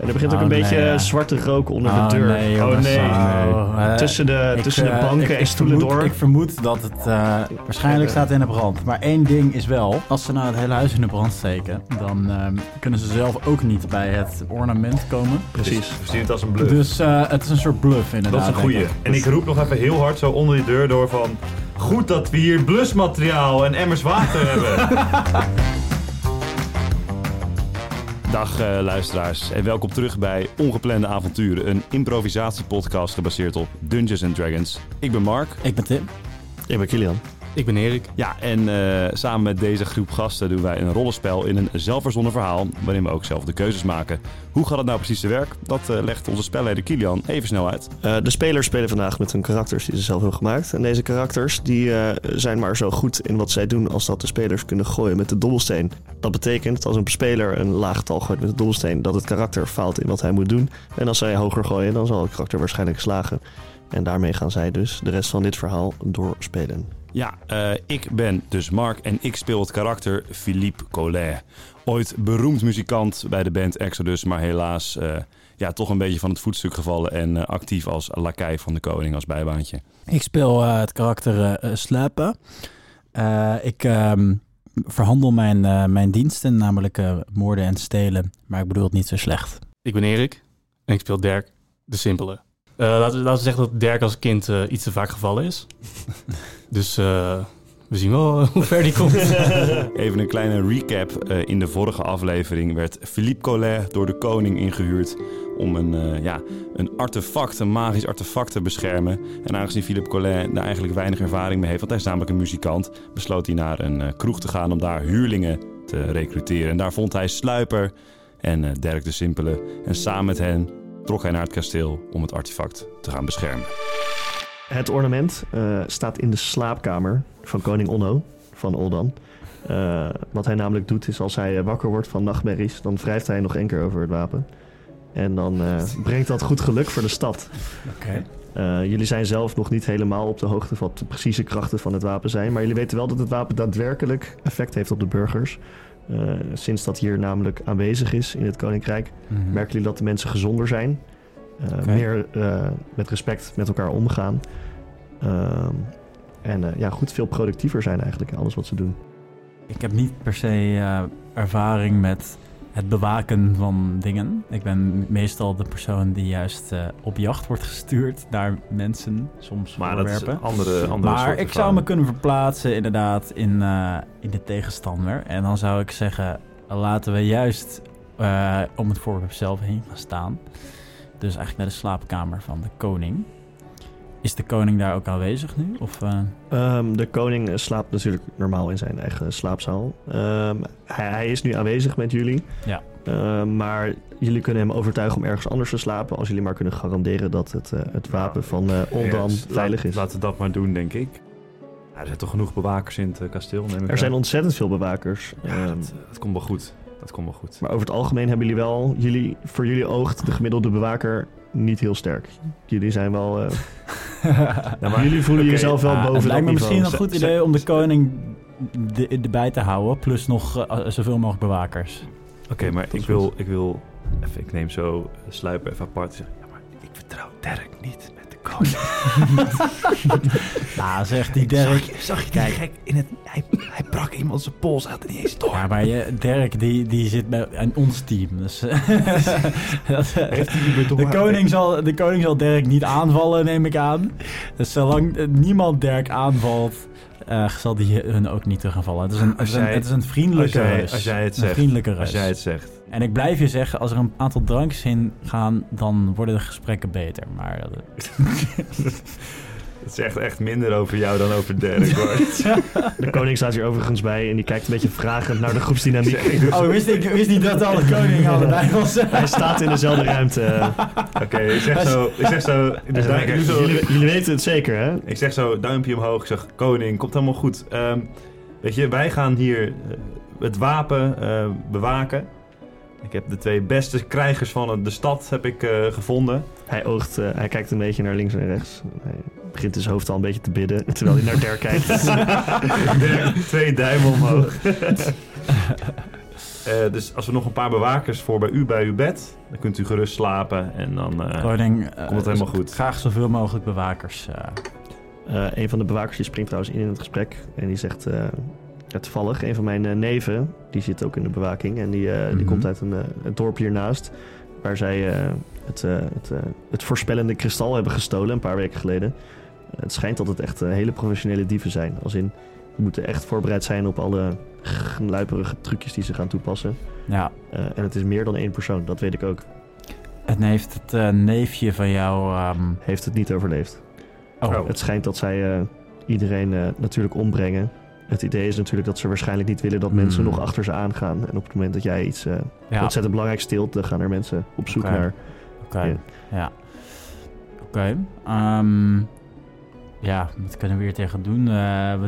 En er begint ook Oh, een nee, beetje ja. eh, zwarte rook onder Oh, de deur. nee, jongens. oh nee. Oh, eh, tussen de, Ik, tussen de eh, banken ik- en ik stoelen vermoed- door. Ik vermoed dat het eh, waarschijnlijk staat in de brand. Maar één ding is wel, als ze nou het hele huis in de brand steken, dan ehm, kunnen ze zelf ook niet bij het ornament komen. Precies. We zien het als een bluff. Dus eh, het is een soort bluff dat inderdaad. is een goeie. denk ik. En ik roep nog even heel hard zo onder je deur door van... Goed dat we hier blusmateriaal en emmers water hebben. Dag eh, luisteraars en welkom terug bij Ongeplande Avonturen, een improvisatiepodcast gebaseerd op Dungeons and Dragons. Ik ben Mark. Ik ben Tim. Ik ben Kilian. Ik ben Erik. Ja, en eh, samen met deze groep gasten doen wij een rollenspel in een zelfverzonnen verhaal, waarin we ook zelf de keuzes maken. Hoe gaat het nou precies te werk? Dat eh, legt onze spelleider Kilian even snel uit. eh, de spelers spelen vandaag met hun karakters die ze zelf hebben gemaakt. En deze karakters die, eh, zijn maar zo goed in wat zij doen als dat de spelers kunnen gooien met de dobbelsteen. Dat betekent dat als een speler een laag tal gooit met de dobbelsteen, dat het karakter faalt in wat hij moet doen. En als zij hoger gooien, dan zal het karakter waarschijnlijk slagen. En daarmee gaan zij dus de rest van dit verhaal doorspelen. Ja, eh, ik ben dus Mark en ik speel het karakter Philippe Collet. Ooit beroemd muzikant bij de band Exodus, maar helaas eh, ja, toch een beetje van het voetstuk gevallen en eh, actief als lakai van de koning als bijbaantje. Ik speel eh, het karakter eh, eh, Slapen. Eh, ik ehm, verhandel mijn, eh, mijn diensten, namelijk eh, moorden en stelen. Maar ik bedoel het niet zo slecht. Ik ben Erik en ik speel Dirk, de simpele. Eh, laten, we, laten we zeggen dat Dirk als kind eh, iets te vaak gevallen is. dus eh, we zien wel hoe ver die komt. Even een kleine recap. Eh, in de vorige aflevering werd Philippe Collet door de koning ingehuurd om een, eh, ja, een artefact, een magisch artefact te beschermen. En aangezien Philippe Collet daar eigenlijk weinig ervaring mee heeft, want hij is namelijk een muzikant, besloot hij naar een eh, kroeg te gaan om daar huurlingen te recruteren. En daar vond hij Sluiper en eh, Dirk de Simpele. En samen met hen trok hij naar het kasteel om het artefact te gaan beschermen. Het ornament eh, staat in de slaapkamer van koning Onno van Oldan. Eh, wat hij namelijk doet is als hij eh, wakker wordt van nachtmerries, dan wrijft hij nog één keer over het wapen. En dan eh, brengt dat goed geluk voor de stad. Oké. Eh, jullie zijn zelf nog niet helemaal op de hoogte van wat de precieze krachten van het wapen zijn. Maar jullie weten wel dat het wapen daadwerkelijk effect heeft op de burgers. Eh, sinds dat hier namelijk aanwezig is in het koninkrijk, Mhm. merken jullie dat de mensen gezonder zijn. eh, Oké. Meer eh, met respect met elkaar omgaan. Ehm, en eh, ja, goed, veel productiever zijn eigenlijk in alles wat ze doen. Ik heb niet per se eh, ervaring met het bewaken van dingen. Ik ben meestal de persoon die juist eh, op jacht wordt gestuurd naar mensen, soms maar dat is voorwerpen. een andere, andere Maar soort ik zou ervaring. me kunnen verplaatsen inderdaad in, eh, in de tegenstander. En dan zou ik zeggen, laten we juist eh, om het voorwerp zelf heen gaan staan. Dus eigenlijk naar de slaapkamer van de koning. Is de koning daar ook aanwezig nu? Of, eh, Ehm, de koning eh, slaapt natuurlijk normaal in zijn eigen slaapzaal. Ehm, hij, hij is nu aanwezig met jullie. Ja. Ehm, maar jullie kunnen hem overtuigen om ergens anders te slapen. Als jullie maar kunnen garanderen dat het, eh, het wapen van eh Oldan Yes, laat- veilig is. Laten we dat maar doen, denk ik. Ja, er zijn toch genoeg bewakers in het eh, kasteel, neem ik aan. Er zijn ontzettend veel bewakers. Ja, Ehm, dat, dat komt wel goed. Dat komt wel goed. Maar over het algemeen hebben jullie wel, jullie, voor jullie oogt de gemiddelde bewaker niet heel sterk. Jullie zijn wel. eh, jullie voelen oké, jezelf wel Ah, boven het dat lijkt me niveau. misschien een Ze- goed ze- idee om de koning de- erbij te houden. Plus nog eh, zoveel mogelijk bewakers. Oké, maar Dat ik is wil, goed. ik wil... Even, ik neem zo eh, Sluiper even apart. en zeg, Ja, maar ik vertrouw Dirk niet met de koning. Nou, zegt die Dirk. je, zag je Kijk. gek in het... Hij, hij brak iemand zijn pols, hij had er niet eens door. Ja, maar je, Dirk die, die zit bij aan ons team. Dus, eh, dat, eh, Heeft hij niet de, bedongen? koning zal, de koning zal Dirk niet aanvallen, neem ik aan. Dus zolang eh, niemand Dirk aanvalt, eh, zal die hun ook niet te gaan vallen. Het is een, het is een, Jij- het is een vriendelijke als jij- rus. als jij het een zegt. vriendelijke Als rus. jij het zegt. En ik blijf je zeggen, als er een aantal drankjes in gaan, dan worden de gesprekken beter. Maar eh, Het zegt echt minder over jou dan over Dirk, hoor. De koning staat hier overigens bij en die kijkt een beetje vragend naar de groepsdynamiek. Dus Oh, wist, ik, wist niet dat alle koning allebei was. Hij staat in dezelfde ruimte. Oké, ik zeg zo... Ik zeg zo... Hij Dus zegt, daar- ik doe zo- jullie, jullie weten het zeker, hè? Ik zeg zo, duimpje omhoog. Ik zeg, koning, komt helemaal goed. Ehm, weet je, wij gaan hier eh, het wapen eh, bewaken. Ik heb de twee beste krijgers van het- de stad heb ik, eh, gevonden. Hij oogt, eh, hij kijkt een beetje naar links en rechts. Hij begint in zijn hoofd al een beetje te bidden terwijl hij naar Dirk kijkt. Dirk, twee duimen omhoog. Eh, dus als we nog een paar bewakers voor bij u bij uw bed, dan kunt u gerust slapen en dan... eh, Koning, eh, Komt het helemaal goed. Graag zoveel mogelijk bewakers. eh. Eh, een van de bewakers die springt trouwens in in het gesprek. En die zegt, eh, ja, toevallig, een van mijn eh, neven, die zit ook in de bewaking. En die, eh, Mhm. die komt uit een, eh, het dorp hiernaast. Waar zij eh, het, eh, het, eh, het voorspellende kristal hebben gestolen een paar weken geleden. Het schijnt dat het echt eh, hele professionele dieven zijn. Als in, we moeten echt voorbereid zijn op alle gluiperige trucjes die ze gaan toepassen. ja, Eh, en het is meer dan één persoon, dat weet ik ook. en heeft het eh, neefje van jou... ehm, Heeft het niet overleefd. oh, Oh. Het schijnt dat zij eh, iedereen eh, natuurlijk ombrengen. Het idee is natuurlijk dat ze waarschijnlijk niet willen dat mensen Hmm. nog achter ze aangaan. En op het moment dat jij iets eh ja, oké. ontzettend belangrijk steelt, dan gaan er mensen op zoek Oké. naar. Ja. Ja. Oké. ehm, ja, wat kunnen we hier tegen doen? Eh, we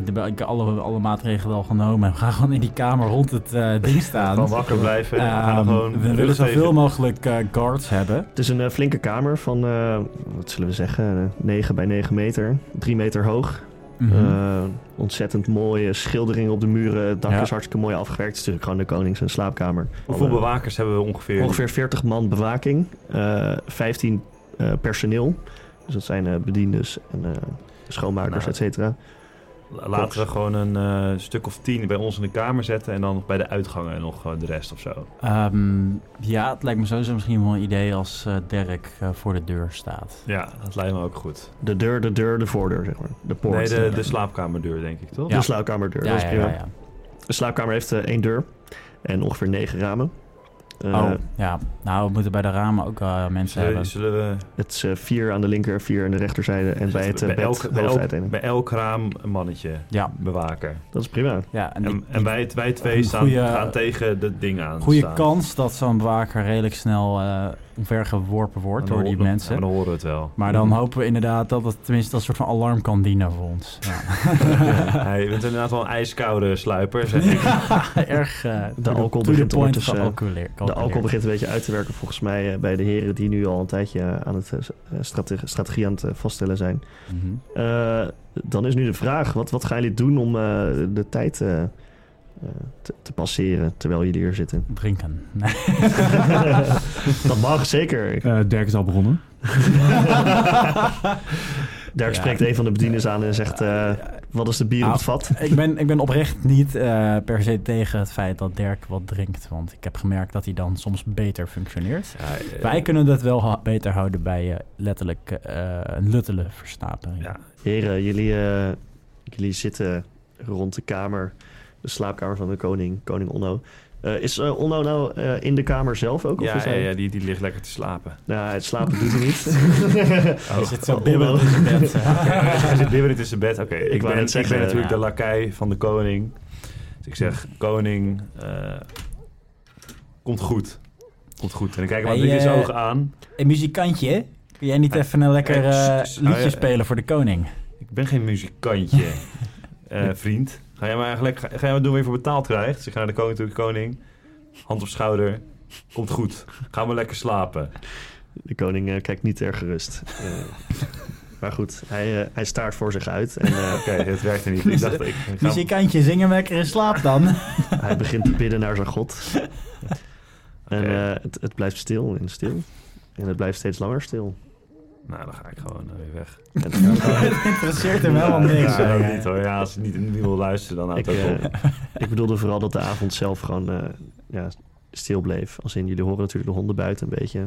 hebben ik- alle, alle maatregelen al genomen. We gaan gewoon in die kamer rond het eh, ding staan. Gewoon wakker blijven. en we gaan er Ehm, gewoon we willen rust zoveel tegen. mogelijk eh, guards hebben. Het is een eh, flinke kamer van, eh, wat zullen we zeggen, eh, 9 bij 9 meter. 3 meter hoog. Mhm. Eh, ontzettend mooie schilderingen op de muren. Het dak Ja. is hartstikke mooi afgewerkt. Het is natuurlijk gewoon de konings- en slaapkamer. Hoeveel Alle- bewakers hebben we ongeveer? Ongeveer 40 man bewaking, eh 15 eh, personeel. Dus dat zijn eh bediendes en eh, schoonmakers, Nou. et cetera. Laten we gewoon een eh, stuk of tien bij ons in de kamer zetten en dan bij de uitgangen nog eh, de rest of zo. Ehm, ja, het lijkt me sowieso misschien wel een idee als eh, Dirk eh, voor de deur staat. Ja, dat lijkt me ook goed. De deur, de deur, de voordeur, zeg maar. De poort. nee, de, de slaapkamerdeur denk ik, toch? De slaapkamerdeur, Ja, dat is ja, prima. ja. ja. De slaapkamer heeft eh, één deur en ongeveer negen ramen. Eh, oh, ja. Nou, we moeten bij de ramen ook eh, mensen Zullen, hebben. zullen we Het is eh, vier aan de linker, vier aan de rechterzijde en bij het eh, Dus bij, bed elk, bij, hoofd elk- uiteen. bij elk raam een mannetje Ja, bewaker. Dat is prima. ja. En, En, ik- en wij, wij twee Een staan, goeie- gaan tegen dat ding aan Goede staan. kans dat zo'n bewaker redelijk snel eh omvergeworpen Dan wordt door die horen- mensen. ja, Dan horen we het wel. Maar dan hopen we inderdaad dat het tenminste als soort van alarm kan dienen voor ons. Ja, Hij je bent inderdaad wel een ijskoude sluiper, zeg ik. erg. eh, to the- alcohol to the begint point ondertussen, gecalculeer- De alcohol calculeerd. begint een beetje uit te werken volgens mij eh, bij de heren die nu al een tijdje eh, aan het eh, strate- strategie aan het eh, vaststellen zijn. Mhm. Eh, dan is nu de vraag: wat, wat gaan jullie doen om eh, de tijd eh, eh, te, te passeren terwijl jullie hier zitten? Drinken. Nee. dat mag zeker. Dirk is al begonnen. Dirk Ja. spreekt een van de bedieners aan en zegt: eh, Wat is de bier op het Nou. vat? ik, ben, ik ben oprecht niet eh, per se tegen het feit dat Dirk wat drinkt. Want ik heb gemerkt dat hij dan soms beter functioneert. Ja, eh, Wij kunnen dat wel ha- beter houden bij eh, letterlijk eh, een luttele versnapering. Ja. Heren, jullie, eh, jullie zitten rond de kamer, de slaapkamer van de koning, koning Onno. Eh, is eh, Onno nou eh, in de kamer zelf ook? Of Ja, is ja, hij... ja, die, die ligt lekker te slapen. Nou, het slapen doet hij niet. Hij zit zo Oh, bibberend oh. in zijn bed. eh. Hij zit bibberend in zijn bed. Oké, ik, wou net ben, ik zeggen, ben natuurlijk ja. de lakai van de koning. Dus ik zeg, koning, eh, komt goed. Komt goed. En ik kijk hem Hey, hey, in zijn eh, ogen aan. Een muzikantje, hè? kun jij niet even een lekker eh, eh, s- s- liedje nou ja, spelen voor de koning? Ik ben geen muzikantje, Eh, vriend. Ga jij maar eigenlijk ga, ga jij maar doen waar je voor betaald krijgt. Dus ik ga naar de koning toe, koning. Hand op schouder. Komt goed. Ga maar lekker slapen. De koning eh, kijkt niet erg gerust. Eh, maar goed, hij, eh, hij staart voor zich uit en eh, Oké, het werkte niet. Dus, Ik eh, dacht, ik, ik ga- Muzikantje, zing hem lekker in slaap dan. hij begint te bidden naar zijn god. En Oké. eh, het, het blijft stil en stil. En het blijft steeds langer stil. Nou, dan ga ik gewoon eh, weer weg. En dan- Het interesseert hem helemaal niks. Ja, Ja, ook niet hoor. Ja, als je niet, niet wil luisteren, dan houdt ik, dat op. eh, ik bedoelde vooral dat de avond zelf gewoon eh, ja, stil bleef. Als in, jullie horen natuurlijk de honden buiten een beetje.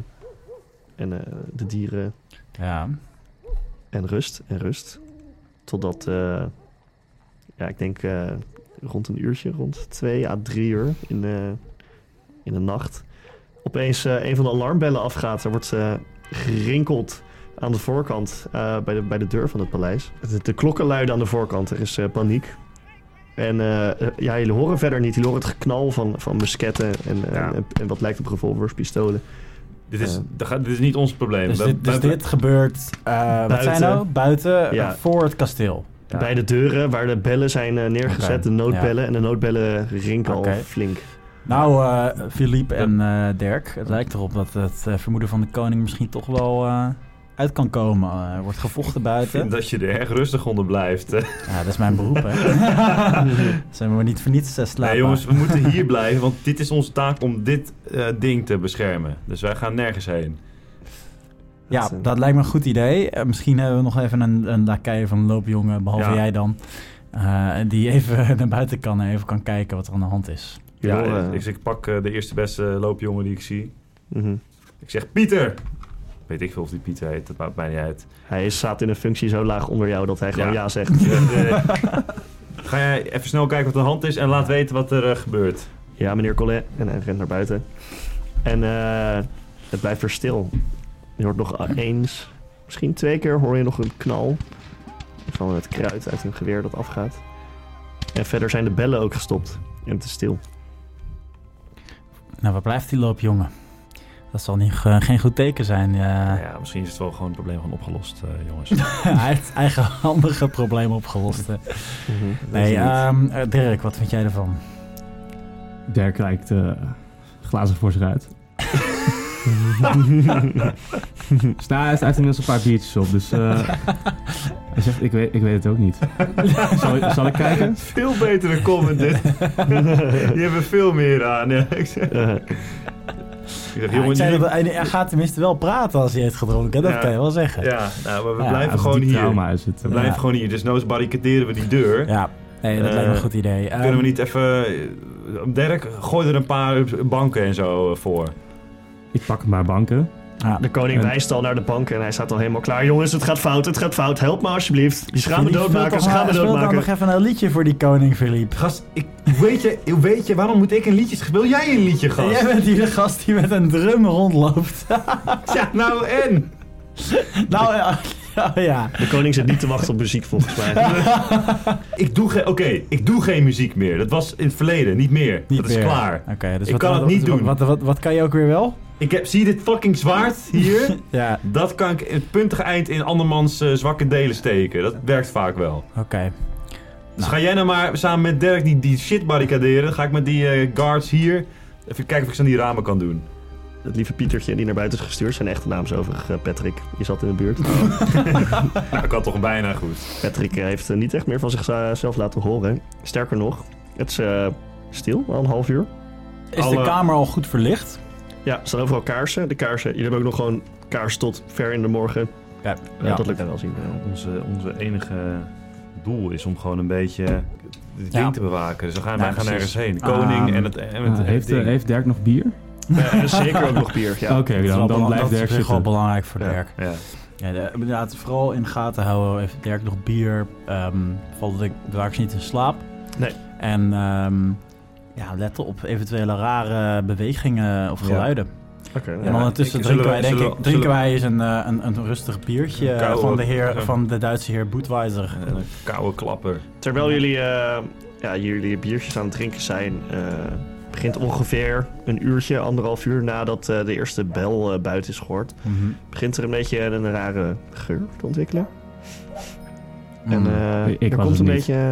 En eh, de dieren ja. en rust en rust. Totdat, eh, ja, ik denk eh, rond een uurtje, rond twee à drie uur in de, in de nacht. Opeens eh, een van de alarmbellen afgaat. Er wordt eh, gerinkeld aan de voorkant eh, bij, de, bij de deur van het paleis. De, de klokken luiden aan de voorkant. Er is eh, paniek. En eh, eh, ja, jullie horen verder niet. Jullie horen het geknal van, van musketten en, eh, Ja. en, en wat lijkt op revolvers, pistolen. Dit is, Eh. dat gaat- dit is niet ons probleem. Dus, Dat- dit, dus dat- dit gebeurt, eh, wat Buiten. zijn nou? Buiten, Ja. eh, voor het kasteel. Ja. Bij de deuren waar de bellen zijn eh, neergezet, Oké, de noodbellen. En de noodbellen rinkelen Oké. al flink. Nou, eh Philippe en eh, Dirk, het lijkt erop dat het eh, vermoeden van de koning misschien toch wel eh, uit kan komen. eh, wordt gevochten Ik vind buiten. dat je er erg rustig onder blijft. eh. Ja, dat is mijn beroep, hè. Zijn we maar niet voor niets eh, slaapbaar. Nee, jongens, we moeten hier blijven, want dit is onze taak om dit eh, ding te beschermen. Dus wij gaan nergens heen. Ja, Dat, eh, dat lijkt me een goed idee. Eh, misschien hebben we nog even een, een lakai van loopjongen, behalve Ja. jij dan. eh, die even naar buiten kan en even kan kijken wat er aan de hand is. Ja, joh, eh, ik, ik pak eh, de eerste beste loopjongen die ik zie. mhm. Ik zeg, Pieter! Weet ik veel of die Pieter heet, dat maakt mij niet uit. Hij staat in een functie zo laag onder jou dat hij gewoon Ja. ja, zegt. Eh, Ga jij even snel kijken wat er aan de hand is en laat weten wat er eh, gebeurt. Ja, meneer Collet. En hij rent naar buiten. En eh, het blijft er stil. Je hoort nog eens, misschien twee keer, hoor je nog een knal. Van het kruid uit een geweer dat afgaat. En verder zijn de bellen ook gestopt. En het is stil. Nou, waar blijft die loopjongen? Dat zal niet, ge- geen goed teken zijn. eh. Nou ja, misschien is het wel gewoon een probleem van opgelost, eh, jongens. Hij heeft eigenhandige probleem opgelost. hè. Mhm. Nee, ehm, eh, Dirk, wat vind jij ervan? Dirk kijkt eh, glazig voor zich uit. Dus nou, hij heeft hij heeft inmiddels een paar biertjes op, dus eh, hij zegt, ik weet, ik weet het ook niet. Zal, zal ik kijken? Veel betere comment dit. Die hebben veel meer aan. Ja, ik zeg, Eh, ik zeg, Ja, ik jongen, zei jullie- dat hij, hij gaat tenminste wel praten als hij heeft gedronken. Dat Ja. kan je wel zeggen. Ja, Ja, nou, maar we Ja, blijven Uit gewoon diep hier. trauma is het. We blijven Ja. gewoon hier. Dus noods barricaderen we die deur. nee, dat Eh, lijkt me een goed idee. Kunnen Ehm, we niet even... eh, Dirk, gooi er een paar banken en zo eh, voor. Ik pak een paar banken. ja. de koning En- wijst al naar de bank en hij staat al helemaal klaar. Jongens, het gaat fout, het gaat fout. Help me alsjeblieft. Ze gaan me Philippe, doodmaken, speel ze toch gaan me maar- speel doodmaken. dan nog even een liedje voor die koning, Philippe. Gast, ik, weet, je, weet je, waarom moet ik een liedje... Speel jij een liedje, Jij bent hier de gast die met een drum rondloopt. Ja, nou en? nou ja, ja, ja. De koning zit niet te wachten op muziek volgens mij. Ik doe geen... Oké, ik doe geen muziek meer. Dat was in het verleden, niet meer. Niet dat meer. is klaar. Oké, dus Ik wat, kan het wat- niet wat- doen. Wat, wat, wat kan je ook weer wel? Ik heb, zie je dit fucking zwaard hier? Ja, dat kan ik het puntige eind in andermans eh, zwakke delen steken. Dat werkt vaak wel. oké. Dus ga jij nou maar samen met Dirk die, die shit barricaderen. Dan ga ik met die eh, guards hier even kijken of ik ze aan die ramen kan doen. Het lieve Pietertje die naar buiten is gestuurd. Zijn echte naam is overigens eh, Patrick. Je zat in de buurt. Nou, ik had toch bijna goed. Patrick eh, heeft eh, niet echt meer van zichzelf laten horen. Sterker nog, het is eh, stil, al een half uur. Is Alle- de kamer al goed verlicht? Ja, er staan overal kaarsen. De kaarsen, jullie hebben ook nog gewoon kaars tot ver in de morgen. Ja, Eh, Dat lukt dan wel zien. Onze, onze enige doel is om gewoon een beetje het ding Ja. te bewaken. Dus we gaan, Ja, wij gaan precies. ergens heen. De koning Ah, en het, en het, Ah, het heeft, eh, ding. heeft Dirk nog bier? Ja, en Eh, zeker ook nog bier. Ja. Oké, dan, dan blijft dat Dirk is op zich wel zitten. belangrijk voor Ja. Dirk. Ja. Ja, de- inderdaad, vooral in de gaten houden. Heeft Dirk nog bier? Ehm valt ik straks niet in slaap? Nee. En ehm ja, letten op eventuele rare bewegingen of Ja. geluiden. Oké, nou, en Ja, ondertussen ik- drinken wij, zullen we- denk zullen ik, we- drinken zullen wij eens een, eh, een, een rustig biertje eh, Koude- van de, heer, ja. van de Duitse heer Boetweiser. Een koude klapper. Terwijl jullie, eh, ja, jullie biertjes aan het drinken zijn, eh, begint ongeveer een uurtje, anderhalf uur nadat eh, de eerste bel eh, buiten is gehoord, Mhm. begint er een beetje een rare geur te ontwikkelen. En Mm. eh, Ik- ik er was komt het een niet. beetje, eh,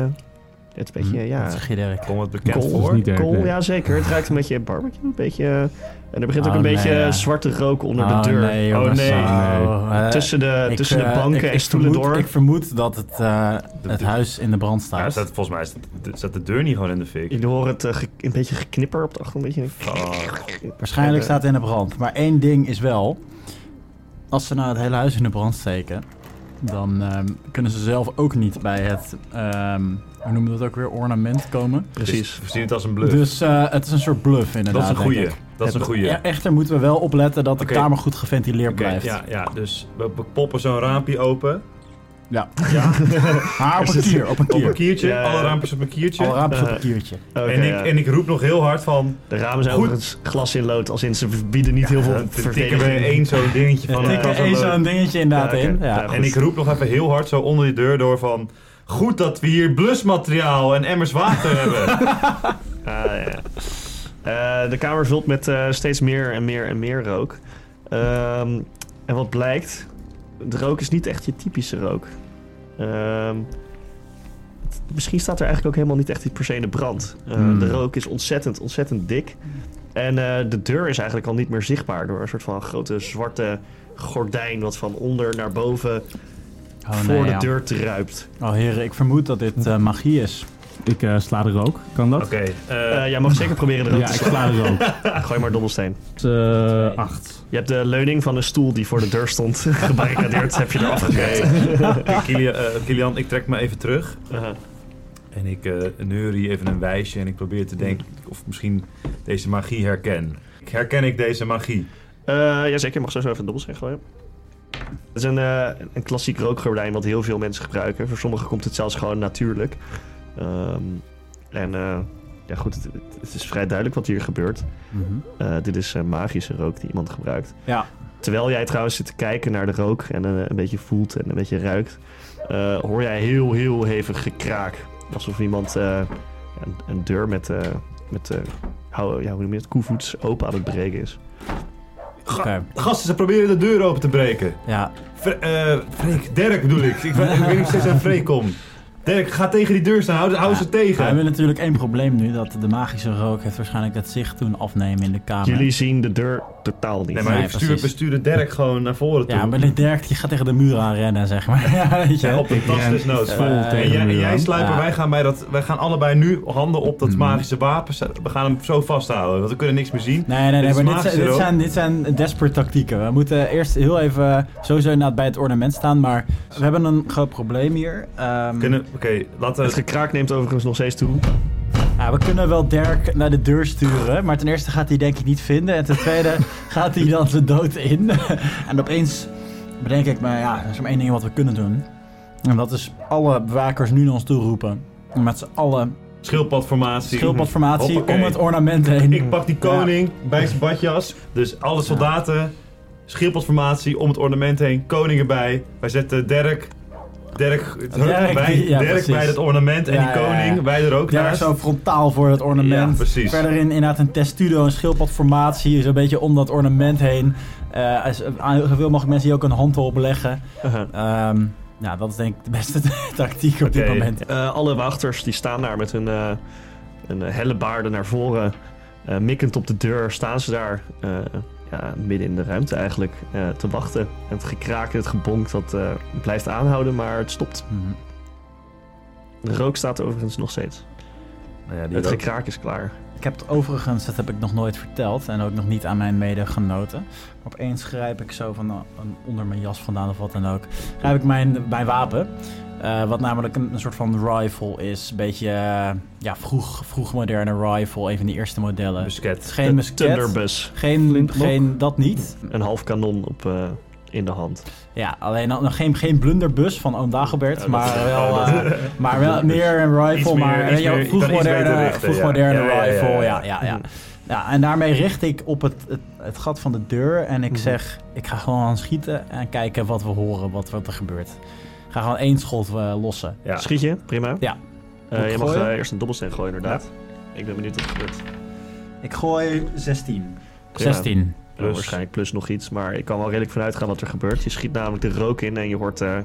het is een beetje, ja, Dat Mhm. zeg je, Dirk. Kom het bekend Kool. Dat voor. is niet Dirk, kool, nee. ja zeker. Het ruikt een beetje barbecue, een beetje... En er begint ook Oh, een beetje nee, ja. zwarte rook onder Oh, de deur. nee, jongens. oh nee. Oh, eh, Tussen de, ik, tussen de eh, banken ik- en ik stoelen vermoed- door. Ik vermoed dat het, eh, het de- huis in de brand Ja, staat. staat, volgens mij staat, staat de deur niet gewoon in de fik. Jullie horen het eh, ge- een beetje geknipper op de achtergrond. Een beetje... Fuck. Waarschijnlijk En, eh, staat hij in de brand. Maar één ding is wel... Als ze nou het hele huis in de brand steken... dan ehm, kunnen ze zelf ook niet bij het... ehm hoe noemen we dat ook weer? Ornament komen. Precies. We zien het als een bluff. Dus eh, het is een soort bluff inderdaad. dat is een denk goeie. ik. Dat is een goeie. Ja, echter moeten we wel opletten dat de Oké. kamer goed geventileerd Oké, blijft. ja, ja, dus we we poppen zo'n raampje open. Ja. Ja. Maar op een kier, op een Op een kier. kiertje. Ja, ja. Alle raampjes op een kiertje. Al raampjes op Eh, een kiertje. Oké, en, ik, ja. en ik roep nog heel hard van... De ramen zijn Goed. overigens glas in lood. Als in ze bieden niet heel veel Dan tikken we verdediging. één zo'n dingetje van. Ja, eh, tikken was wel Eén leuk. zo'n dingetje inderdaad Ja, oké. in. Ja. Ja, goed. En ik roep nog even heel hard zo onder die deur door van... Goed dat we hier blusmateriaal en emmers water hebben. Ah, ja. Eh, de kamer vult met eh, steeds meer en meer en meer rook. Ehm, en wat blijkt, de rook is niet echt je typische rook. Ehm, t- misschien staat er eigenlijk ook helemaal niet echt per se in de brand. Eh, Hmm. De rook is ontzettend, ontzettend dik. En eh, de deur is eigenlijk al niet meer zichtbaar door een soort van grote zwarte gordijn wat van onder naar boven Oh, nee, voor ja. de deur druipt. Oh heren, ik vermoed dat dit eh, magie is. Ik eh, sla de rook. Kan dat? Oké, eh, Eh, jij mag zeker proberen eruit Ja, te ik sla de rook. slaan. Gooi maar dobbelsteen. Eh acht. Je hebt de leuning van een stoel die voor de deur stond gebarricadeerd, heb je eraf oké. gekregen. Kilian, eh, Kilian, ik trek me even terug. Eh, En ik eh neurie even een wijsje en ik probeer te denken of ik misschien deze magie herken. Ik- Herken ik deze magie? eh, jazeker, je mag sowieso even dobbelsteen gooien. Het is een, eh, een klassiek rookgordijn wat heel veel mensen gebruiken. Voor sommigen komt het zelfs gewoon natuurlijk. Ehm, en eh, ja goed, het, het- het is vrij duidelijk wat hier gebeurt. Mhm. Eh, dit is eh, magische rook die iemand gebruikt. Ja. Terwijl jij trouwens zit te kijken naar de rook en eh, een beetje voelt en een beetje ruikt, eh, hoor jij heel, heel hevig gekraak. Alsof iemand eh, ja, een, een deur met, eh, met eh, hou, ja, hoe noem je het, koevoets open aan het breken is. Ga- Oké. Gasten, ze proberen de deur open te breken. Ja, Fre eh, Freek, Dirk bedoel ik. Ik, weet- ik weet niet of steeds aan Freek kom. Dirk, ga tegen die deur staan. Hou, ze- hou Ja. ze tegen. we hebben natuurlijk één probleem nu. Dat de magische rook heeft waarschijnlijk dat zicht doen afnemen in de kamer. Jullie zien de deur totaal niet. Nee, maar Nee, we sturen, precies. we sturen Dirk gewoon naar voren toe. Ja, maar de Dirk die gaat tegen de muur aan rennen, zeg maar. ja, weet je. Ja, op een tas ren desnoods. vol Eh, tegen en jij, de en muur jij aan. sluiper, Ja. wij, gaan bij dat, wij gaan allebei nu handen op dat Mm. magische wapen. zetten. We gaan hem zo vasthouden, want we kunnen niks meer zien. Nee, nee, Dit is nee, maar dit zijn, magische dit, rook. zijn, dit zijn desperate tactieken. We moeten eerst heel even eh, sowieso inderdaad bij het ornament staan, maar we hebben een groot probleem hier. Ehm, Kunnen- Oké, laten Het we... gekraak neemt overigens nog steeds toe. ja, we kunnen wel Dirk naar de deur sturen, maar ten eerste gaat hij denk ik niet vinden en ten tweede gaat hij dan de dood in. en opeens bedenk ik me, ja, er is maar één ding wat we kunnen doen. En dat is alle bewakers nu naar ons toe roepen. Met z'n allen Schildpadformatie. schildpadformatie Hoppakee. om het ornament heen. Ik pak die koning bij zijn badjas. Dus alle soldaten, schildpadformatie om het ornament heen, koning erbij. Wij zetten Dirk... Dirk, Dirk, bij, ja, Dirk precies. bij het ornament en Ja, die ja, ja. koning, wij er ook Ja, naast. zo frontaal voor het ornament. Ja, precies. Verder in inderdaad een testudo, een schildpadformatie, zo'n beetje om dat ornament heen. Eh als- aan zoveel mogelijk mensen hier ook een hand op leggen. Uh-huh. Ehm, nou, dat is denk ik de beste tactiek op dit Oké. moment. Eh, alle wachters die staan daar met hun, eh hun eh, helle baarden naar voren. Eh, mikkend op de deur staan ze daar eh, ja, midden in de ruimte eigenlijk eh, te wachten. En het gekraak en het gebonk dat eh, blijft aanhouden, maar het stopt. Mhm. De rook staat er overigens nog steeds. Nou ja, die het ook. gekraak is klaar. Ik heb het overigens, dat heb ik nog nooit verteld en ook nog niet aan mijn medegenoten. Maar opeens grijp ik zo van eh, een- onder mijn jas vandaan of wat dan ook, grijp ik mijn, mijn wapen. Eh, wat namelijk een, een soort van rifle is. Een beetje eh, ja, vroeg, vroeg moderne rifle, een van de eerste modellen. Dus Het is Musket. geen De musket, Thunderbus. geen, Flintlock. geen dat niet. Een half kanon op, eh, in de hand. Ja, alleen al- nog geen, geen blunderbus van oom Dagobert, Ja, maar, dat- wel, oh, dat- eh, maar wel meer een rifle, Iets meer- maar iets weet je wel, meer- vroeg kan iets beter moderne, richten, vroeg ja. moderne Ja, ja, ja, rifle, ja, ja ja. ja, Ah, ja, Ja, en daarmee richt ik op het, het, het gat van de deur en ik Mhm. zeg, ik ga gewoon aan schieten en kijken wat we horen, wat, wat er gebeurt. Ik ga gewoon één schot eh, lossen. Ja. Schiet je? Prima. Ja. Eh, Moet ik je mag gooien? eh, eerst een dobbelsteen gooien inderdaad. Ik ben benieuwd wat er gebeurt. Ik gooi 16. Prima. 16. Plus. waarschijnlijk plus nog iets, maar ik kan wel redelijk vanuit gaan wat er gebeurt. Je schiet namelijk de rook in en je hoort eh,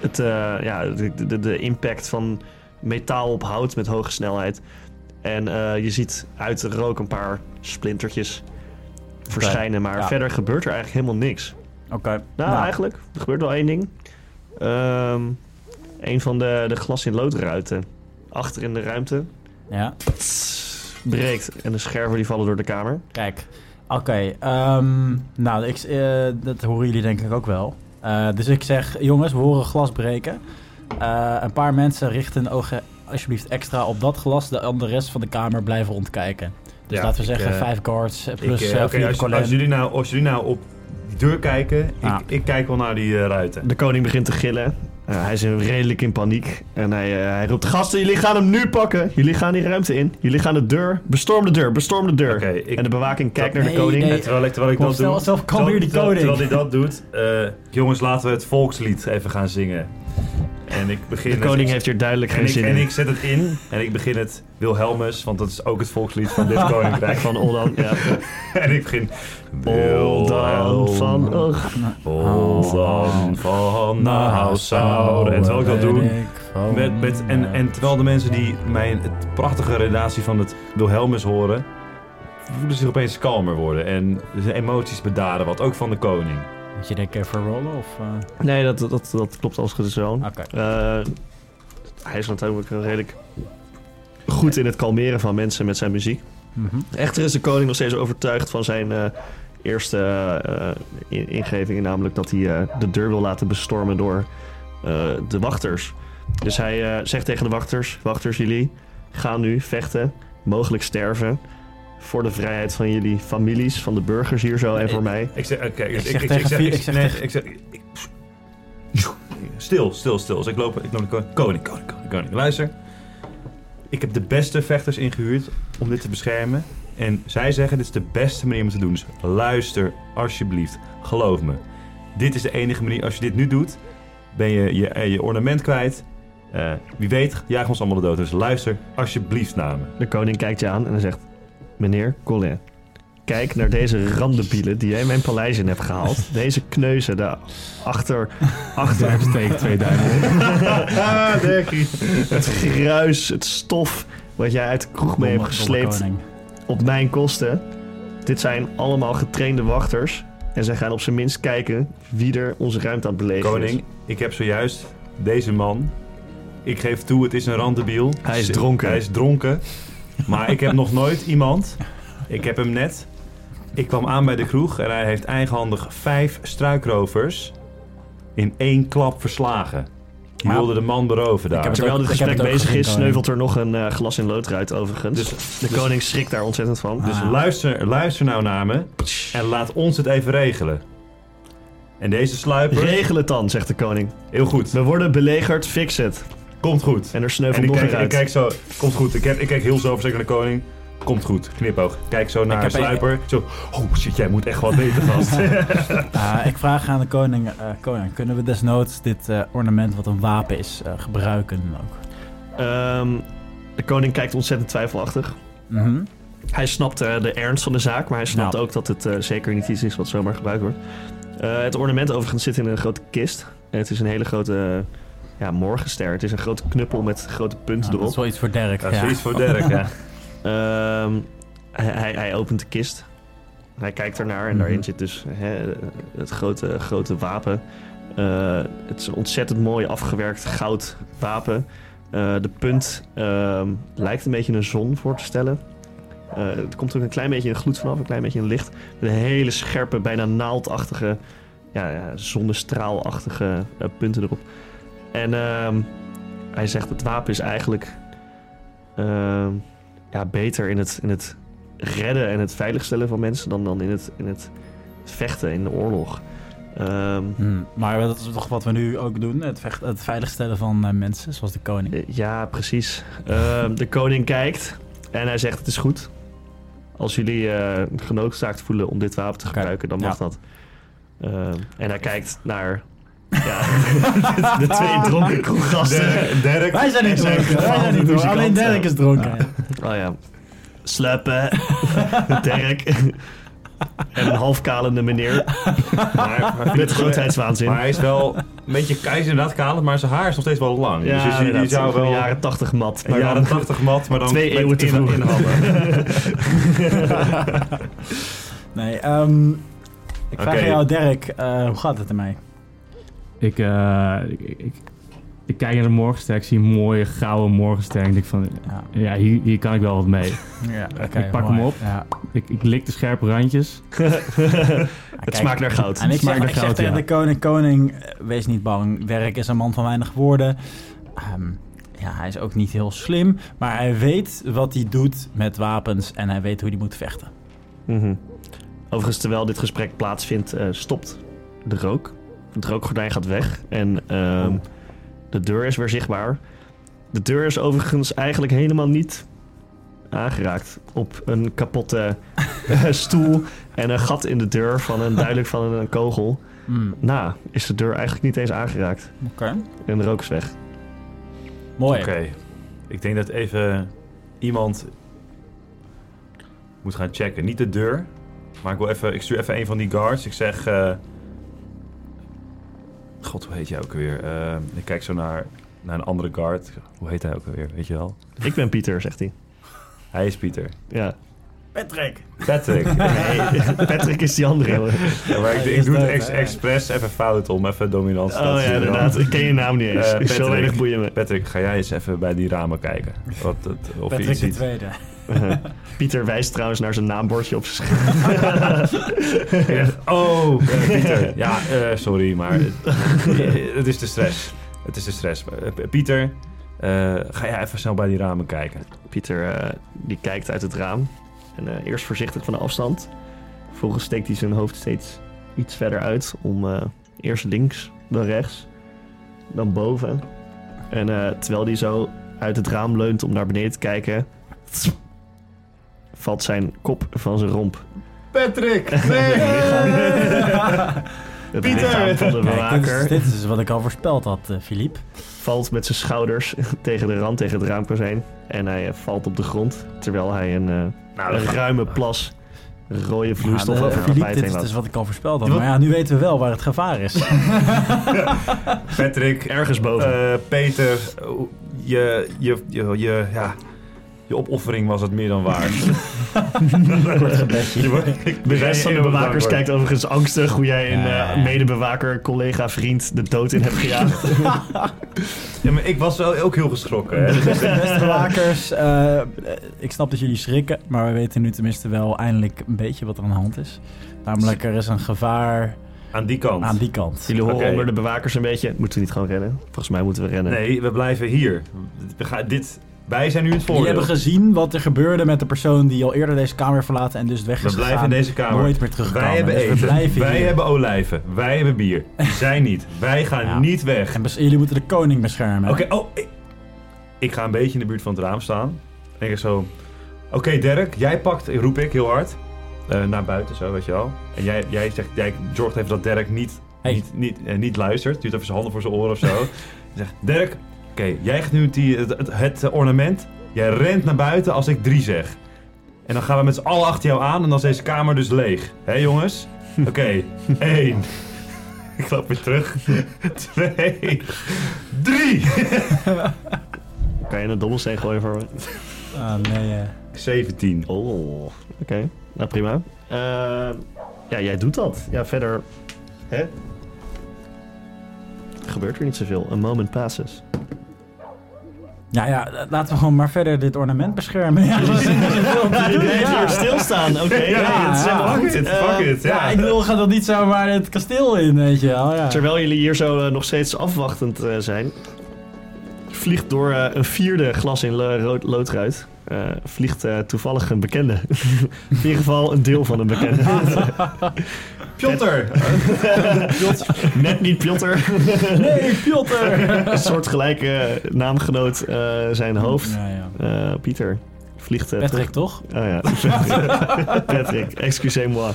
het, eh, ja, de, de, de impact van metaal op hout met hoge snelheid. En eh, je ziet uit de rook een paar splintertjes verschijnen, maar ja. verder gebeurt er eigenlijk helemaal niks. Oké. Nou, Nou. eigenlijk, er gebeurt wel één ding. Ehm, een van de, de glas in loodruiten achter in de ruimte Ja, breekt en de scherven die vallen door de kamer. kijk. Oké, ehm, nou, ik, eh, dat horen jullie denk ik ook wel. Eh, dus ik zeg, jongens, we horen glas breken. Eh, een paar mensen richten hun ogen alsjeblieft extra op dat glas. De, de rest van de kamer blijven rondkijken. Dus Ja, laten we ik, zeggen, eh, vijf guards eh, Ik, eh, plus oké, eh, vier als, collega's. als, jullie nou, als jullie nou op die deur kijken, Ah. ik, ik kijk wel naar die eh, ruiten. De koning begint te gillen. Eh, hij is in- redelijk in paniek. En hij, eh, hij roept: Gasten, jullie gaan hem nu pakken. Jullie gaan die ruimte in. Jullie gaan de deur. Bestorm de deur. Bestorm de deur. Oké, ik- en de bewaking kijkt naar Nee, de koning. nee. En terwijl ik, terwijl ik Kom, dat snel, doe... snel, kom terwijl- hier die terwijl- koning. Terwijl hij dat doet, eh, jongens, laten we het volkslied even gaan zingen. En ik begin... De koning heeft hier duidelijk en geen ik, zin en in. ik zet het in en ik begin het Wilhelmus, want dat is ook het volkslied van dit koninkrijk. Van Oldan. Ja. en ik begin... Oldan van. Oh. Och. Oldan van Nou, Nassau. En terwijl ik dat doe, Met, met, en, en terwijl de mensen die mijn het prachtige redactie van het Wilhelmus horen, voelen zich opeens kalmer worden. En zijn emoties bedaren wat, ook van de koning. Moet je denken even rollen of... eh, Nee, dat, dat, dat klopt als het is wel. Oké. Eh, hij is natuurlijk een redelijk goed in het kalmeren van mensen met zijn muziek. Mhm. Echter is de koning nog steeds overtuigd van zijn eh, eerste eh, in- ingeving, namelijk dat hij eh, de deur wil laten bestormen door eh, de wachters. Dus hij eh, zegt tegen de wachters: Wachters, jullie gaan nu vechten, mogelijk sterven. Voor de vrijheid van jullie families, van de burgers hier zo en Nee, voor mij. Ik zeg, kijk, Ik zeg tegen vier- ik zeg nee, tegen- ik zeg, ik- stil, stil, stil. Dus ik loop, ik loop naar de koning, koning, koning, koning, koning. Luister, ik heb de beste vechters ingehuurd om dit te beschermen. En zij zeggen, dit is de beste manier om het te doen. Dus luister, alsjeblieft, geloof me. Dit is de enige manier, als je dit nu doet, ben je je, eh, je ornament kwijt. Eh, wie weet, jaag ons allemaal de dood. Dus luister, alsjeblieft naar me. De koning kijkt je aan en hij zegt: Meneer Colin, kijk naar deze randenbielen die jij mijn paleis in hebt gehaald. Deze kneuzen daar achter, achter Steek twee duimen op. Ah, Derkie. het gruis, het stof wat jij uit de kroeg mee hebt Domme- domme gesleept koning. op mijn kosten. Dit zijn allemaal getrainde wachters. En zij gaan op zijn minst kijken wie er onze ruimte aan het belegen is. Koning, ik heb zojuist deze man. Ik geef toe, het is een randebiel. Hij is dronken. Hij is dronken. Maar ik heb nog nooit iemand. Ik heb hem net. Ik kwam aan bij de kroeg en hij heeft eigenhandig vijf struikrovers in één klap verslagen. Je Maar- wilde de man beroven daar. Ik heb het Terwijl ook- dit ik heb gesprek het ook bezig gezien, is, koning. sneuvelt er nog een eh, glas in loodruit overigens. de koning schrikt daar ontzettend van. Dus Ah. luister, luister nou naar me en laat ons het even regelen. En deze sluiper, Regel het dan, zegt de koning. heel goed, We worden belegerd, fix het. komt goed. En er En sneuvelt ik nog een kijk, ik uit. kijk zo, komt goed. Ik kijk, ik kijk heel zelfverzekerd naar de koning. Komt goed, knipoog. Kijk zo naar heb een- Sluiper. Zo, oh shit, jij moet echt wat weten, gast. Ah, ik vraag aan de koning, eh, koning, kunnen we desnoods dit eh, ornament wat een wapen is eh, gebruiken ook? Ehm, de koning kijkt ontzettend twijfelachtig. Mhm. Hij snapt eh, de ernst van de zaak, maar hij snapt Nou. ook dat het eh, zeker niet iets is wat zomaar gebruikt wordt. Eh, het ornament overigens zit in een grote kist. En het is een hele grote eh, ja, morgenster. Het is een grote knuppel met grote punten Nou, dat is erop. wel iets voor Derek. Dat ja. is iets voor Dirk, ja. Ehm, hij, hij, hij opent de kist. Hij kijkt ernaar en Mhm. daarin zit dus hè, het grote, grote wapen. Eh, het is een ontzettend mooi afgewerkt goud wapen. Eh, de punt ehm, lijkt een beetje een zon voor te stellen. Eh er komt ook een klein beetje een gloed vanaf, een klein beetje een licht. Met een hele scherpe, bijna naaldachtige, ja, ja, zonnestraalachtige eh, punten erop. En ehm, hij zegt, het wapen is eigenlijk ehm, ja, beter in het, in het redden en het veiligstellen van mensen dan, dan in, het, in het vechten, in de oorlog. Ehm, Hmm, Maar dat is toch wat we nu ook doen, het, vecht, het veiligstellen van eh, mensen, zoals de koning. eh, ja, precies. Ehm, de koning kijkt en hij zegt, het is goed. Als jullie eh genoodzaakt voelen om dit wapen te Oké, gebruiken, dan mag ja. dat. Ehm, en hij kijkt naar ja, de, de twee dronken kroeggasten. Dirk, Dirk. Wij zijn niet en zijn dronken, wij gevaarlijke zijn niet dronken. muzikanten. Alleen Derek is dronken. Oh ja. Sluppen. Dirk. en een halfkalende meneer Maar, maar- met grootheidswaanzin. Maar hij is wel een beetje hij is inderdaad kalend, maar zijn haar is nog steeds wel lang. dus je- je, inderdaad. zou wel Een jaren, jaren 80 mat. een Maar jaren dan 80 mat, maar dan twee met eeuwen te in- vroeg. in handen. Nee, ehm, ik vraag Oké. aan jou, Derek, eh, hoe gaat het ermee? Ik, eh, ik, ik, ik, ik kijk naar de morgenster. Ik zie een mooie gouden morgenster. En ik denk van, Ja, ja, hier, hier kan ik wel wat mee. ja oké, Ik pak hem mooi. op. Ja. Ik, ik lik de scherpe randjes. Het smaakt naar goud. En ik zeg, smaakt naar ik zeg goud, tegen ja. de koning, koning, eh, wees niet bang. Derek is een man van weinig woorden. Ehm, ja, hij is ook niet heel slim, maar hij weet wat hij doet met wapens en hij weet hoe hij moet vechten. Mhm. Overigens, terwijl dit gesprek plaatsvindt, eh, stopt de rook. Het rookgordijn gaat weg en ehm, Oh. de deur is weer zichtbaar. De deur is overigens eigenlijk helemaal niet aangeraakt. Op een kapotte eh, stoel en een gat in de deur van een duidelijk van een kogel. Na is de deur eigenlijk niet eens aangeraakt. Hmm, Oké. En de rook is weg. Mooi. Oké. Ik denk dat even iemand moet gaan checken. Niet de deur, maar ik, wil even, ik stuur even een van die guards. Ik zeg... eh, God, hoe heet jij ook weer? Eh, ik kijk zo naar, naar een andere guard. Hoe heet hij ook weer? Weet je wel? Ik ben Pieter, zegt hij. Hij is Pieter. Ja. Patrick! Patrick. Nee, Patrick is die andere. jongen. Ja, maar ik, Hij ik is doe het dood, ex- hè? expres even fout om even dominant te Oh laten ja, zien. inderdaad. Ik ken je naam niet eens. Eh, Ik Zo Patrick. weinig boeien me. Patrick, ga jij eens even bij die ramen kijken. Wat, het- of je Patrick iets de ziet. tweede. Eh, Pieter wijst trouwens naar zijn naambordje op zijn scherm. Ja, Oh, eh, Pieter. Ja, eh, sorry, maar het, het is de stress. Het is de stress. Eh, Pieter, eh, ga jij even snel bij die ramen kijken. Pieter eh, die kijkt uit het raam. En eh, eerst voorzichtig van de afstand. Vervolgens steekt hij zijn hoofd steeds iets verder uit. Om eh, eerst links, dan rechts, dan boven. En eh, terwijl hij zo uit het raam leunt om naar beneden te kijken... valt zijn kop van zijn romp. Patrick, nee! Het Pieter! lichaam van de Kijk, dit, bewaker is, dit is wat ik al voorspeld had, eh, Philippe. valt met zijn schouders tegen de rand, tegen het raamkozijn. En hij eh, valt op de grond, terwijl hij een, eh, Nou, een dat gaat- ruime plas rode vloeistof Ja, de- over haar Philippe, tapijt dit heen is laat. dus wat ik al voorspeld had. Wat- Maar ja, nu weten we wel waar het gevaar is. Patrick, Ergens boven. eh, Peter, eh, je, je, je, je, ja, je opoffering was het meer dan waard. Je wordt- ik de ben rest van de heel bewakers dankbaar. kijkt overigens angstig hoe jij een eh, Ja. medebewaker, collega, vriend de dood in hebt gejaagd. Ja, maar ik was wel ook heel geschrokken. Hè? Beste bewakers, eh, eh, ik snap dat jullie schrikken, maar we weten nu tenminste wel eindelijk een beetje wat er aan de hand is. Namelijk, er is een gevaar Aan die kant. aan die kant. Jullie horen Oké. onder de bewakers een beetje. Moeten we niet gewoon rennen? Volgens mij moeten we rennen. Nee, we blijven hier. We gaan, dit, wij zijn nu het Jullie voordeel. hebben gezien wat er gebeurde met de persoon die al eerder deze kamer verlaten en dus weg is We blijven in gegaan. deze kamer. Nooit meer teruggekomen. Wij hebben Dus we eten. blijven wij hier. hebben olijven. Wij hebben bier. Zij niet. Wij gaan Ja. niet weg. En bes- jullie moeten de koning beschermen. Oké, oh. Ik, ik ga een beetje in de buurt van het raam staan. En ik zeg zo. Oké, Dirk, jij pakt, roep ik heel hard. eh, naar buiten zo, weet je wel. En jij, jij, zegt, jij zorgt even dat Dirk niet, Hey. niet, niet, eh, niet luistert. Duurt even zijn handen voor zijn oren of zo. Je zegt: Dirk, oké, jij gaat nu die, het, het, het ornament. Jij rent naar buiten als ik drie zeg. En dan gaan we met z'n allen achter jou aan en dan is deze kamer dus leeg. Hé jongens? Oké, één. Ik loop weer terug. Twee. Drie. Kan je een dobbelsteen gooien voor me? Ah, nee, eh. 17. Oh, oké. Nou, prima. Eh, ja, jij doet dat. Ja, verder... Hè? Gebeurt er niet zoveel. A moment passes. Ja, ja, eh, laten we gewoon maar verder dit ornament beschermen. Ja, dat is niet zoveel te doen, Blijf ja. hier stilstaan. Oké, Ja, nee, dat is helemaal ja. fuck goed. Eh, it, fuck it. Ja, Eh, Ja, ik bedoel, ga dat niet zomaar het kasteel in, weet je wel. Ja. Terwijl jullie hier zo eh, nog steeds afwachtend eh, zijn, vliegt door eh, een vierde glas in lo- rood- loodruit. eh, vliegt eh, toevallig een bekende. in ieder geval een deel van een bekende. Pjotter. Net niet Piotr. Nee, Piotr! een soortgelijke naamgenoot eh, zijn hoofd. Ja, ja. Eh, Pieter vliegt eh, Patrick, toch? terug- Oh ja, Patrick, excusez-moi.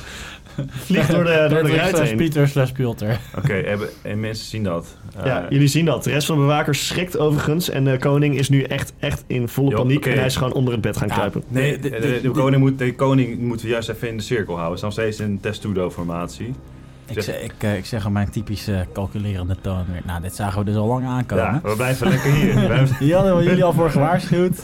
Vliegt door de, door de Patrick ruit slash heen. Pieter slash Piotr. Oké, hebben- en mensen zien dat. Eh, Ja, jullie zien dat. De rest van de bewakers schrikt overigens. En de koning is nu echt, echt in volle Jo, paniek. oké. En hij is gewoon onder het bed gaan Ja. kruipen. Nee, De- eh, de, de- de- de de- koning moet, de koning moeten we juist even in de cirkel houden. Het is nog steeds een testudo-formatie. Ik, zeg- ik, eh, ik zeg op mijn typische calculerende toon weer. Nou, dit zagen we dus al lang Ja, aankomen. we blijven lekker hier. We blijven- Hier hadden we jullie al voor gewaarschuwd.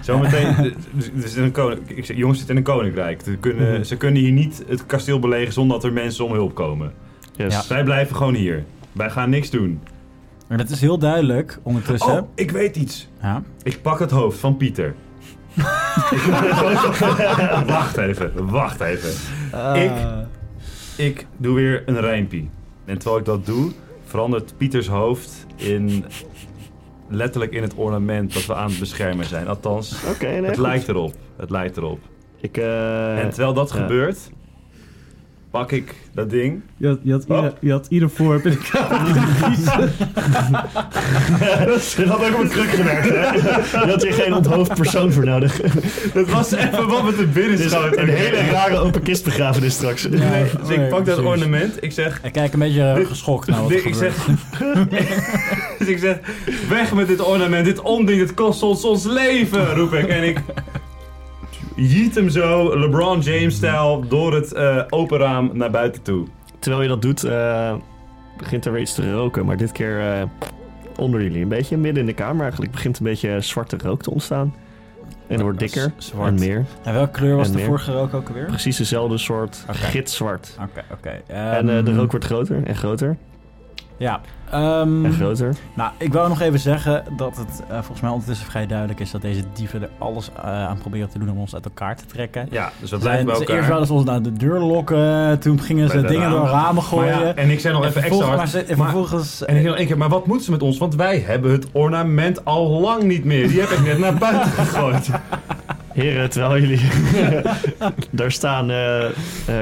Zometeen, de- de- er zit een koning, ik zeg, jongens zitten in een koninkrijk. Ze kunnen, ze kunnen hier niet het kasteel belegen zonder dat er mensen om hulp komen. Yes. Ja. Wij blijven gewoon hier. Wij gaan niks doen. Maar dat is heel duidelijk ondertussen. Oh, ik weet iets. Ja. Ik pak het hoofd van Pieter. wacht even, wacht even. Ik- Ik doe weer een rijmpie. En terwijl ik dat doe, verandert Pieters hoofd in... Letterlijk in het ornament dat we aan het beschermen zijn. Althans, Oké, nee. het goed. lijkt erop. Het lijkt erop. Ik, eh, En terwijl dat ja. gebeurt, pak ik dat ding. Je had, je had, Oh. ieder, je had ieder voorwerp in de Dit had ook op een kruk gewerkt, hè? Je had hier geen onthoofd persoon voor nodig. Dat was even wat met de binnen Dit is schoot. een hele rare open kist begrafenis straks. Ja. Nee, dus ik pak dat Precies. ornament. Ik zeg, Ik kijk een beetje eh, geschokt naar wat er Nou, ik, gebeurt. zeg, dus ik zeg, weg met dit ornament, dit onding, dit kost ons ons leven, roep ik. En ik jiet hem zo, LeBron James-stijl, door het eh, open raam naar buiten toe. Terwijl je dat doet, eh, begint er weer iets te roken. Maar dit keer eh, onder jullie. Een beetje midden in de kamer eigenlijk. Begint een beetje zwarte rook te ontstaan. En het wordt dikker Z- en Zwart. meer. En welke kleur was En de meer. vorige rook ook alweer? Oké, Precies dezelfde soort Oké. gitzwart. oké. en eh, de Ehm, rook wordt groter en groter Ja. ehm, en groter. nou, ik wou nog even zeggen dat het eh, volgens mij ondertussen vrij duidelijk is dat deze dieven er alles eh, aan proberen te doen om ons uit elkaar te trekken. Ja, dus we Ze zijn- blijven bij ze eerst elkaar. wilden ze ons naar de deur lokken, toen gingen ze Bij de dingen door ramen. ramen Maar gooien. ja, en ik zei nog En even extra vervolgens- hard. maar ze- en maar- vervolgens... En ik zei nog één keer, maar wat moeten ze met ons? Want wij hebben het ornament al lang niet meer. Die heb ik net naar buiten gegooid. Heren, terwijl jullie daar staan, eh, eh,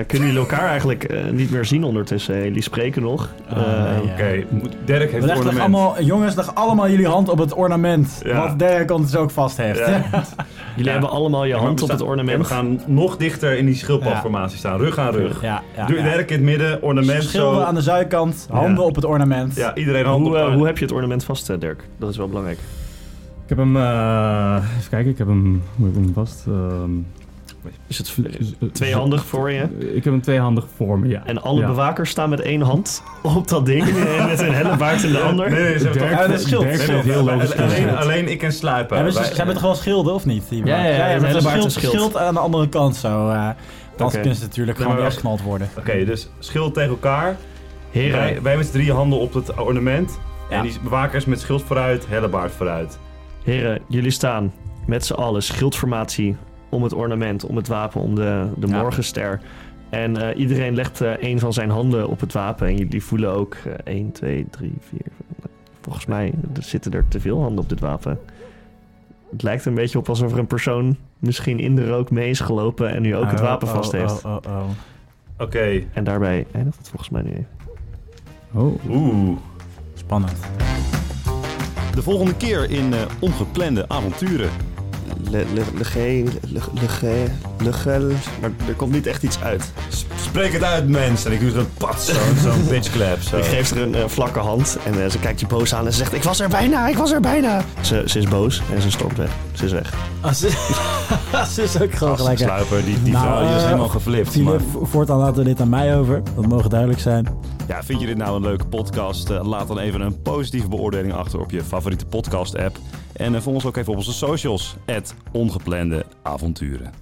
kunnen jullie elkaar eigenlijk eh, niet meer zien ondertussen. Jullie spreken nog. Ah, Eh, nee, ja. Oké, Dirk heeft We het leggen toch ornament. allemaal, jongens, leg allemaal jullie hand op het ornament. Ja. Wat Derek ons ook vast heeft. Ja. Jullie hebben allemaal je Ja, maar hand we op het staan- We ornament. gaan nog dichter in die schildpadformatie staan. Rug aan rug. ja, ja, Doe ja. Dirk in het midden, ornament Schilden zo. aan de zijkant, handen Ja. op het ornament. Ja, iedereen hand Hoe, op eh, elkaar. hoe heb je het ornament vast, eh, Dirk? Dat is wel belangrijk. Ik heb hem, eh, even kijken, ik heb hem, hoe heb ik hem vast? Ehm, Is het z- z- tweehandig voor je? Ik heb hem tweehandig voor me, ja. En alle Ja. bewakers staan met één hand op dat ding. en met een hellebaard in de ander. Nee, nee, ze hebben Dirk- toch- Ja, dat scheelt. Dirk Nee, speelt nee, heel logisch alleen, alleen, speelgoed. alleen ik en sluipen. Hebben ze, Wij- ze hebben het gewoon schilden, of niet? Die Ja, ja, ja, bewakers? een met hele baard schild, en schild. schild aan de andere kant zo. eh dan Oké. kunnen ze natuurlijk Nee, gewoon maar- afgeknald worden. Oké, dus schild tegen elkaar. Heren, Wij, wij met z'n drieën handen op het ornament. Ja. En die bewakers met schild vooruit, hellebaard vooruit. heren, jullie staan met z'n allen schildformatie om het ornament, om het wapen, om de, de Ja. morgenster. En eh, iedereen legt eh een van zijn handen op het wapen. En jullie voelen ook eh, 1, 2, 3, 4. Volgens mij er zitten er te veel handen op dit wapen. Het lijkt een beetje op alsof er een persoon misschien in de rook mee is gelopen en nu ook het Oh, wapen oh, vast heeft. Oh, oh, oh. Oké, En daarbij eindigt het volgens mij nu even. Oh. oeh. Spannend. De volgende keer in eh, Ongeplande Avonturen. Legel, legel, legel. Maar er komt niet echt iets uit. S- Spreek het uit, mensen. En ik doe zo'n pat, zo'n zo bitchclap. Zo. Oh. Ik geef er een eh, vlakke hand en eh, ze kijkt je boos aan en ze zegt: Ik was er bijna, ik was er bijna. Ze, ze is boos en ze stormt weg. Ze is weg. Ah, ze, ze is ook gewoon Gast, gelijk. hè. sluiper, die, die Nou, vrouw die is eh, helemaal geflipt. Jullie, man. voortaan laten we dit aan mij over. Dat mogen duidelijk zijn. Ja, vind je dit nou een leuke podcast? Eh, laat dan even een positieve beoordeling achter op je favoriete podcast-app. En eh, volg ons ook even op onze socials. Het ongeplande avonturen.